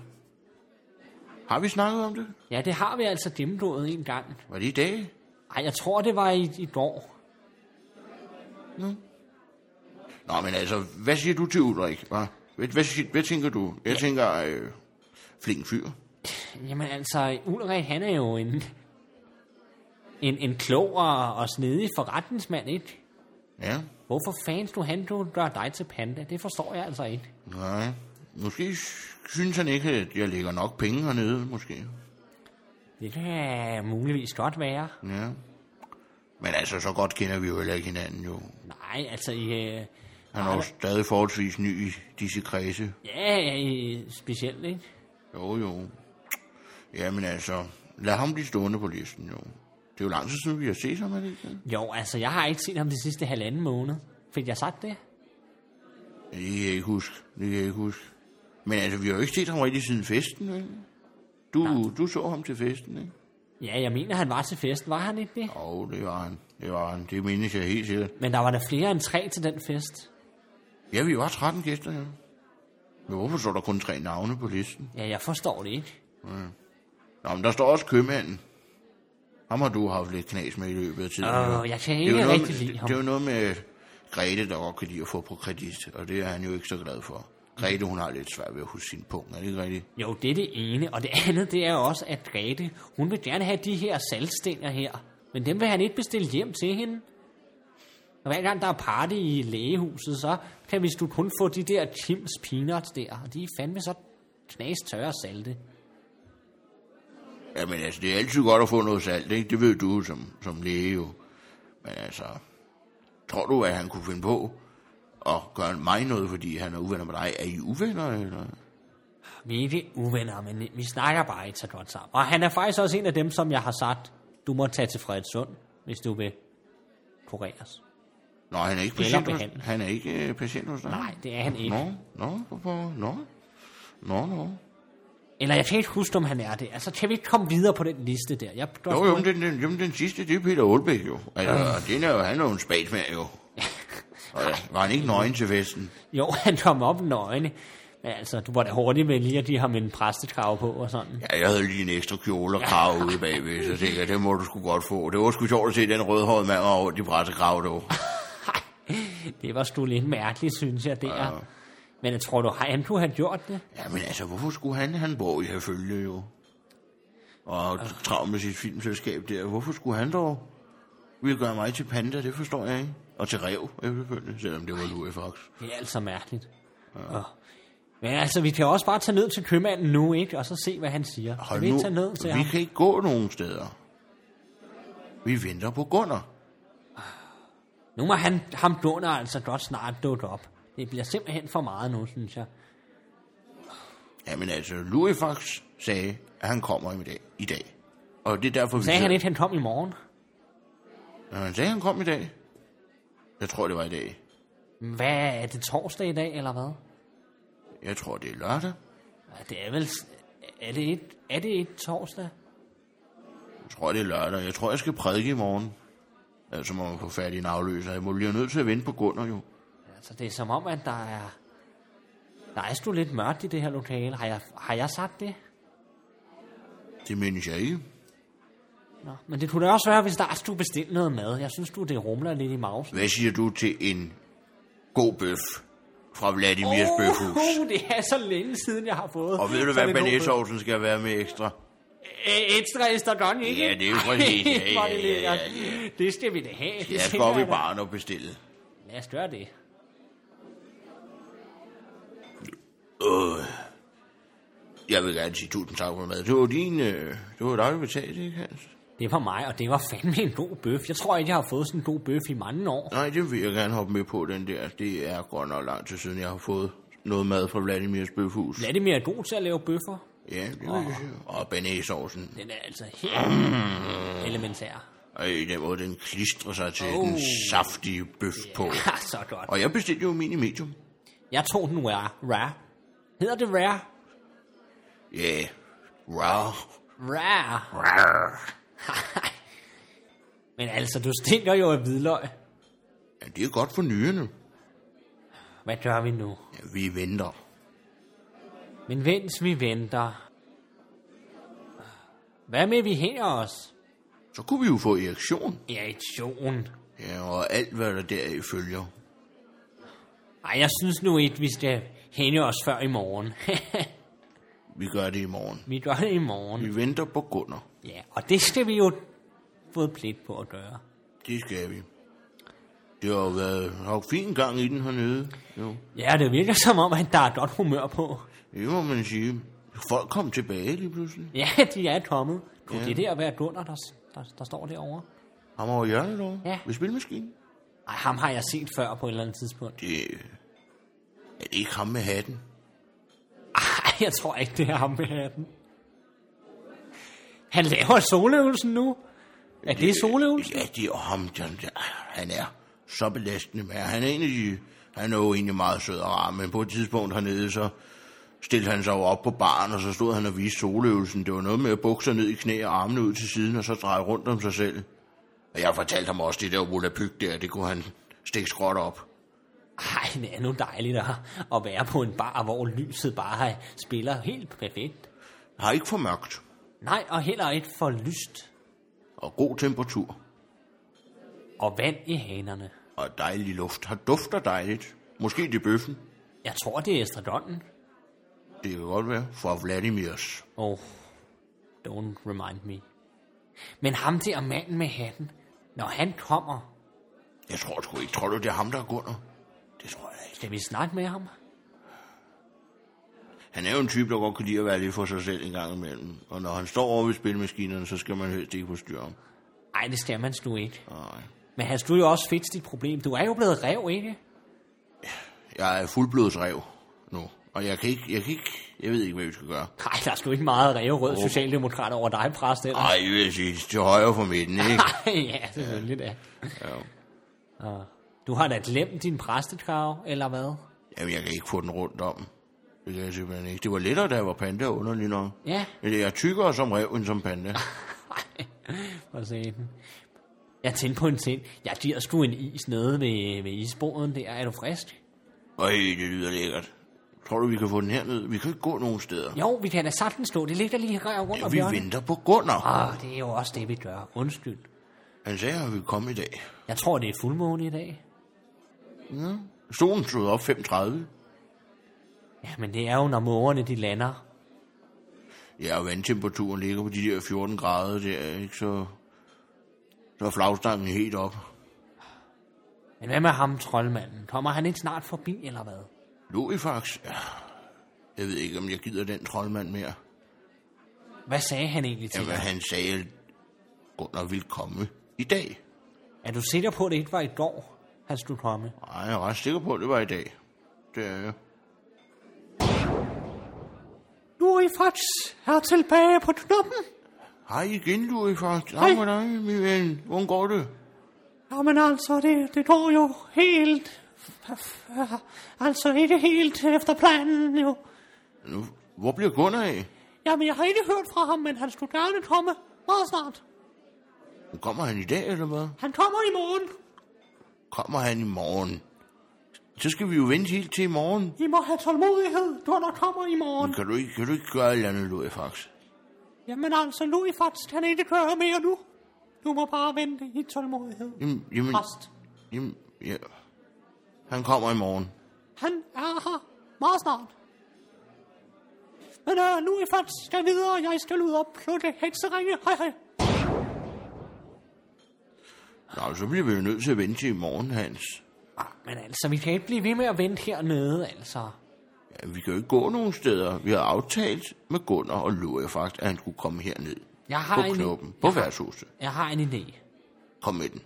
Har vi snakket om det?
Ja, det har vi altså gennemgået en gang.
Var det i dag?
Ej, jeg tror, det var i, i går.
Nå, men altså, hvad siger du til Ulrik, hva? Hvad, hvad, sig- hvad tænker du? Jeg tænker, øh, flink fyr.
Jamen altså, Ulrik, han er jo en, en, en klog og, og snedig forretningsmand, ikke?
Ja,
Hvorfor fanden skulle han du gøre dig til panda? Det forstår jeg altså ikke.
nej. Måske synes han ikke, at jeg lægger nok penge hernede, måske.
Det kan muligvis godt være.
Ja. Men altså, så godt kender vi jo heller ikke hinanden, jo.
Nej, altså i... øh,
Han er jo stadig forholdsvis ny i disse kredse.
Ja, i, specielt, ikke?
Jo, jo. Jamen altså, lad ham blive stående på listen, jo. Det er jo lang tid siden, vi har set ham, er det ikke?
Jo, altså jeg har ikke set ham de sidste halvanden måned. Fik jeg sagt det?
Ja, Det kan jeg ikke huske. Det kan jeg ikke huske. Men altså, vi har jo ikke set ham rigtig siden festen, vel? Du, du så ham til festen, ikke?
Ja, jeg mener, han var til festen, var han ikke det?
Åh, oh, det var han. Det var han. Det mindes jeg helt sikkert.
Men der var der flere end tre til den fest.
Ja, vi var 13 gæster her. Men hvorfor står der kun tre navne på listen?
Ja, jeg forstår det ikke.
Nå, men der står også købmanden. Ham har du haft lidt knas med i løbet af tiden.
Åh,
jo.
jeg kan
Det er
ikke
jo noget
rigtig
med-
lide ham.
Det er jo noget med Grete, der godt kan lide at få på kredit, og det er han jo ikke så glad for. Grete, hun har lidt svært ved at huske sin punkt, er det ikke rigtigt?
Jo, det er det ene. Og det andet, det er også, at Grete, hun vil gerne have de her salgstænger her. Men dem vil han ikke bestille hjem til hende. Og hver gang der er party i lægehuset, så kan vi sgu kun få de der Kims Peanuts der. Og de er fandme så knastørre salte.
Jamen altså, det er altid godt at få noget salt, ikke? Det ved du som, som læge jo. Men altså, tror du, at han kunne finde på at gøre mig noget, fordi han er uvenner med dig? Er I uvenner, eller?
Vi er ikke uvenner, men vi snakker bare ikke så godt sammen. Og han er faktisk også en af dem, som jeg har sagt, du må tage til Frederikssund, hvis du vil kureres.
Nå, han er ikke
Eller
patient hos,
behandle.
han er ikke øh, patient hos dig?
Nej, det er han ikke.
Nå, nå, hvorfor? Nå, nå, nå.
Eller jeg kan ikke huske, om han er det. Altså, kan vi ikke komme videre på den liste der? Jeg
Jo, jo, men den, den, jo, men den sidste, det er Peter Olbæk jo. Altså,
Øhm.
øh. den er jo, han er jo en spadsmand jo. Og, ja, var han ikke nøgen til festen?
jo, han kom op nøgne. Men altså, du var da hurtig med lige at give ham en præstekrave på og sådan.
Ja, jeg havde lige en ekstra kjole og krav ude bagved, så tænkte jeg, det må du sgu godt få. Det var sgu sjovt at se den rødhårede mand over rundt i pressekrav, dog.
Det var sgu lidt mærkeligt, synes jeg, det er. Men jeg tror du, han kunne have gjort det?
Ja, men altså, hvorfor skulle han? Han bor i herfølge jo. Og
Altså-
travlt med sit filmselskab der. Hvorfor skulle han dog? Vi gøre mig til panda, det forstår jeg ikke. Og til rev, efterfølgende, selvom det var Louis Fox.
Det er altså mærkeligt. Ja. Og, men altså, vi kan også bare tage ned til købmanden nu, ikke? Og så se, hvad han siger.
Hold
kan vi ikke
nu,
tage ned til
vi
ham?
kan ikke gå nogen steder. Vi venter på Gunnar.
Nu må han, ham Gunnar altså godt snart dukke op. Det bliver simpelthen for meget nu, synes jeg.
Jamen altså, Louis Fox sagde, at han kommer i dag. I dag. Og det er derfor, vi
Sagde
sidder-
han ikke, han kom i morgen?
Nå, han sagde, han Øh, kom i dag. Jeg tror, det var i dag.
Hvad er det torsdag i dag, eller hvad?
Jeg tror, det er lørdag.
Ej, Det er vel... Er det ikke, er det ikke torsdag?
Jeg tror, det er lørdag. Jeg tror, jeg skal prædike i morgen. Altså må man få fat i en afløser. Jeg må blive nødt til at vente på Gunnar jo.
Altså, det er som om, at der er... Der er sgu lidt mørkt i det her lokale. Har jeg, har jeg sagt det?
Det mindes jeg ikke.
Nå. Men det kunne da også være, hvis der skulle bestille noget mad. Jeg synes, du det rumler lidt i mausen.
Hvad siger du til en god bøf fra Vladimirs oh. bøfhus?
Uh, det er så længe siden, jeg har fået.
Og ved du, hvad banæsovsen skal være med ekstra?
Ekstra estragon, ikke?
Ja, det er jo præcis. Ja,
Ej, hvor er det
ja, ja, ja,
lækkert. Det skal vi da have. Det
Jeg skal
tænker
op i
jeg da.
baren og bestille.
Lad os gøre det.
Jeg vil gerne sige tusind tak for mad. Det var din... Øh, det var dig, der betalte, ikke Hans?
Det var mig, og det var fandme en god bøf. Jeg tror ikke, jeg har fået sådan en god bøf i mange år.
Nej, det vil jeg gerne hoppe med på, den der. Det er godt nok lang tid siden, jeg har fået noget mad fra Vladimirs bøfhus.
Vladimir er god til at lave bøffer.
Ja, det vil jeg sige. Og banæsovsen.
Den er altså helt
Mm.
elementær.
Og i den måde, den klistrer sig til oh.
Oh.
den saftige bøf yeah. på.
Ja, så godt.
Og jeg bestilte jo min i medium.
Jeg tog den rare. Rare. Hedder det rare?
Ja. Yeah. Wow.
Rare. Ej. Men altså, du stinker jo af hvidløg.
Ja, det er godt for nyrene.
Hvad gør vi nu?
Ja, vi venter.
Men mens vi venter... Hvad med, vi hænger os?
Så kunne vi jo få erektion.
Irritation.
Ja, og alt, hvad der deraf følger.
Ej, jeg synes nu ikke, vi skal hænge os før i morgen.
Vi gør det i morgen.
vi gør det i morgen.
Vi venter på Gunnar.
Ja, og det skal vi jo få pligt på at gøre.
Det skal vi. Det har jo været har jo fin gang i den hernede. Jo.
Ja, det virker som om, at der er godt humør på.
Det må man sige. Folk kom tilbage lige pludselig.
Ja, de er kommet. Kunne
Ja.
ja. det der være Gunnar, der, der, der står derovre?
Ham over hjørnet over.
Ja.
Ved spilmaskinen.
Ej, ham har jeg set før på et eller andet tidspunkt.
Det er det ikke ham med hatten.
Ej, jeg tror ikke, det er ham med hatten. Han laver soløvelsen nu. Er det soløvelsen?
Ja, det er ham. John, ja, han er så belastende. Men han er egentlig, han er jo egentlig meget sød og rar, men på et tidspunkt hernede, så stillede han sig jo op på baren, og så stod han og viste soløvelsen. Det var noget med at bukke sig ned i knæ og armene ud til siden, og så dreje rundt om sig selv. Og jeg fortalte ham også, det der volapyk der, det kunne han stikke skråt op.
Ej, det er nu dejligt at, at være på en bar, hvor lyset bare spiller helt perfekt.
Har ikke for mørkt,
Nej, og heller ikke for lyst.
og god temperatur,
Og vand i hanerne.
og dejlig luft. Har dufter dejligt. Måske det er bøffen.
Jeg tror, det er estradonen.
Det kan godt være. Fra Vladimirs.
Oh, don't remind me. Men ham der manden med hatten, når han kommer,
Jeg tror sgu ikke. Tror du, det er ham, der er Gunnar? Det tror jeg ikke.
skal vi snakke med ham?
Han er jo en type, der godt kan lide at være lidt for sig selv en gang imellem. Og når han står over ved spilmaskinerne, så skal man helst ikke forstyrre ham.
Nej, det skal man sgu ikke.
Nej.
Men Hans, du er jo også fedt dit problem. Du er jo blevet rev, ikke?
Jeg er fuldblodsrev nu. Og jeg kan ikke, jeg kan ikke, jeg ved ikke, hvad vi skal gøre.
Nej, der er sgu ikke meget revrød oh. socialdemokrat over dig, præst. eller?
Ej, jeg vil sige, til højre for midten, ikke?
ja, selvfølgelig da.
Ja.
Du har da glemt din præstekrav, eller hvad?
Jamen, jeg kan ikke få den rundt om. Det kan jeg simpelthen ikke. Det var lettere, da jeg var panda, underlig nok.
Ja.
Men jeg er tykkere som rev, end som panda.
For satan. Jeg tænkte på en ting. Jeg giver sgu en is nede ved, ved isbordet der. Er du frisk?
Øj, det lyder lækkert. Tror du, vi kan få den herned? Vi kan ikke gå nogen steder.
Jo, vi kan da sagtens stå. Det ligger lige her rundt om
Vi
hjørnet.
venter på Gunnar.
Ah, det er jo også det, vi gør. Undskyld.
Han sagde, at han ville komme i dag.
Jeg tror, det er fuldmåne i dag.
Solen stod op 5.30.
Ja, men det er jo, når mågerne de lander.
Ja, og vandtemperaturen ligger på de der 14 grader der, ikke? Så, så er flagstangen helt op.
Men hvad med ham, troldmanden? Kommer han ikke snart forbi, eller hvad?
Loifax? Ja. Jeg ved ikke, om jeg gider den troldmand mere.
Hvad sagde han egentlig til
Jamen,
dig?
han sagde, at Gunnar ville komme i dag.
Er du sikker på, at det ikke var i går, han skulle komme?
Nej, jeg er ret sikker på, at det var i dag. Det er jeg.
Lurifax er tilbage på knoppen.
Hej igen, Loifax. Hej med dig, min ven. Hvordan går det?
Jamen altså, det, det går jo helt... Altså ikke helt efter planen jo.
Nu, hvor bliver Gunnar af?
Jamen, jeg har ikke hørt fra ham, men han skulle gerne komme meget snart.
Kommer han i dag, eller hvad?
Han kommer i morgen.
Kommer han i morgen? Så skal vi jo vente helt til i morgen.
I må have tålmodighed, når der kommer i morgen.
Men kan du ikke, kan du ikke gøre et eller andet, Loifax?
Jamen altså, Louis faktisk, han ikke kører mere nu. Du må bare vente i tålmodighed.
Jamen, jamen,
Præst,
jamen, ja. Han kommer i morgen.
han er her meget snart. Men øh, Louis faktisk skal videre, jeg skal ud og plukke hekseringe. Hej hej.
Nå, så bliver vi jo nødt til at vente til i morgen, Hans.
Men altså, vi kan ikke blive ved med at vente hernede, altså.
Ja, vi kan jo ikke gå nogen steder. Vi har aftalt med Gunnar og Loifax, at han skulle komme herned.
Jeg har,
På
en,
knoppen. På værtshuset.
jeg har en idé.
Kom med den.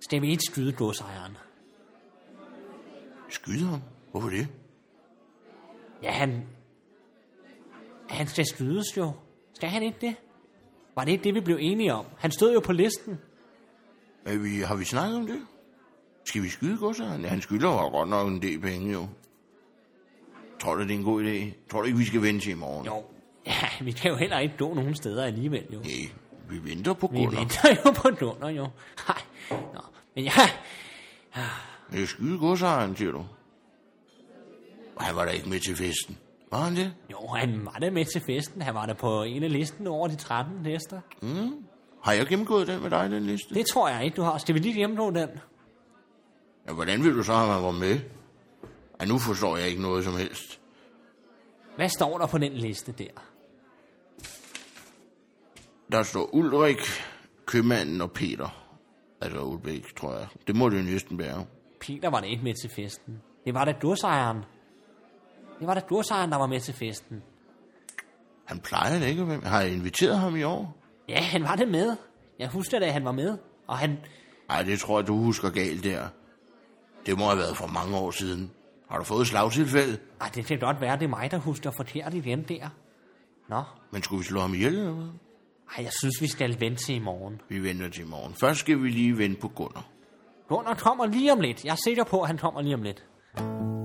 Skal vi ikke skyde godsejeren?
Skyde ham? Hvorfor det?
Ja, han... Han skal skydes jo. Skal han ikke det? Var det ikke det, vi blev enige om? Han stod jo på listen.
Er vi, har vi snakket om det? Skal vi skyde godsejeren? Ja, han skylder jo godt nok en del penge, jo. Tror du, det er en god idé? Tror du ikke, vi skal vente til i morgen?
Jo. Ja, vi kan jo heller ikke gå nogen steder alligevel, jo.
Nej, vi venter på
Vi
Gunnar.
venter jo på Dunder, jo. Nej, nå. Men ja,
Jeg skyde godsejeren, siger du. Og han var da ikke med til festen. Var han det?
jo, han var da med til festen. Han var da på en af listen over de 13 næster.
Har jeg gennemgået den med dig, den liste?
Det tror jeg ikke, du har. Skal vi lige gennemgå den?
Ja, hvordan vil du så, at han var med? Ja, nu forstår jeg ikke noget som helst.
Hvad står der på den liste der?
Der står Ulrik, købmanden og Peter. Altså Ulbæk, tror jeg. Det må det jo næsten være.
Peter var da ikke med til festen. Det var da godsejeren. Det var da godsejeren, der var med til festen.
Han plejer det ikke. Hvem? Har jeg inviteret ham i år?
Ja, han var det med. Jeg husker da, han var med. Og han...
Nej, det tror jeg, du husker galt der. Det må have været for mange år siden. Har du fået et slagtilfælde?
Ej, det kan godt være, det er mig, der husker forkert igen der. Nå.
Men skulle vi slå ham ihjel eller hvad?
Ej, jeg synes, vi skal vente til i morgen.
Vi venter til i morgen. Først skal vi lige vente på Gunnar.
Gunnar kommer lige om lidt. Jeg er sikker på, at han kommer lige om lidt.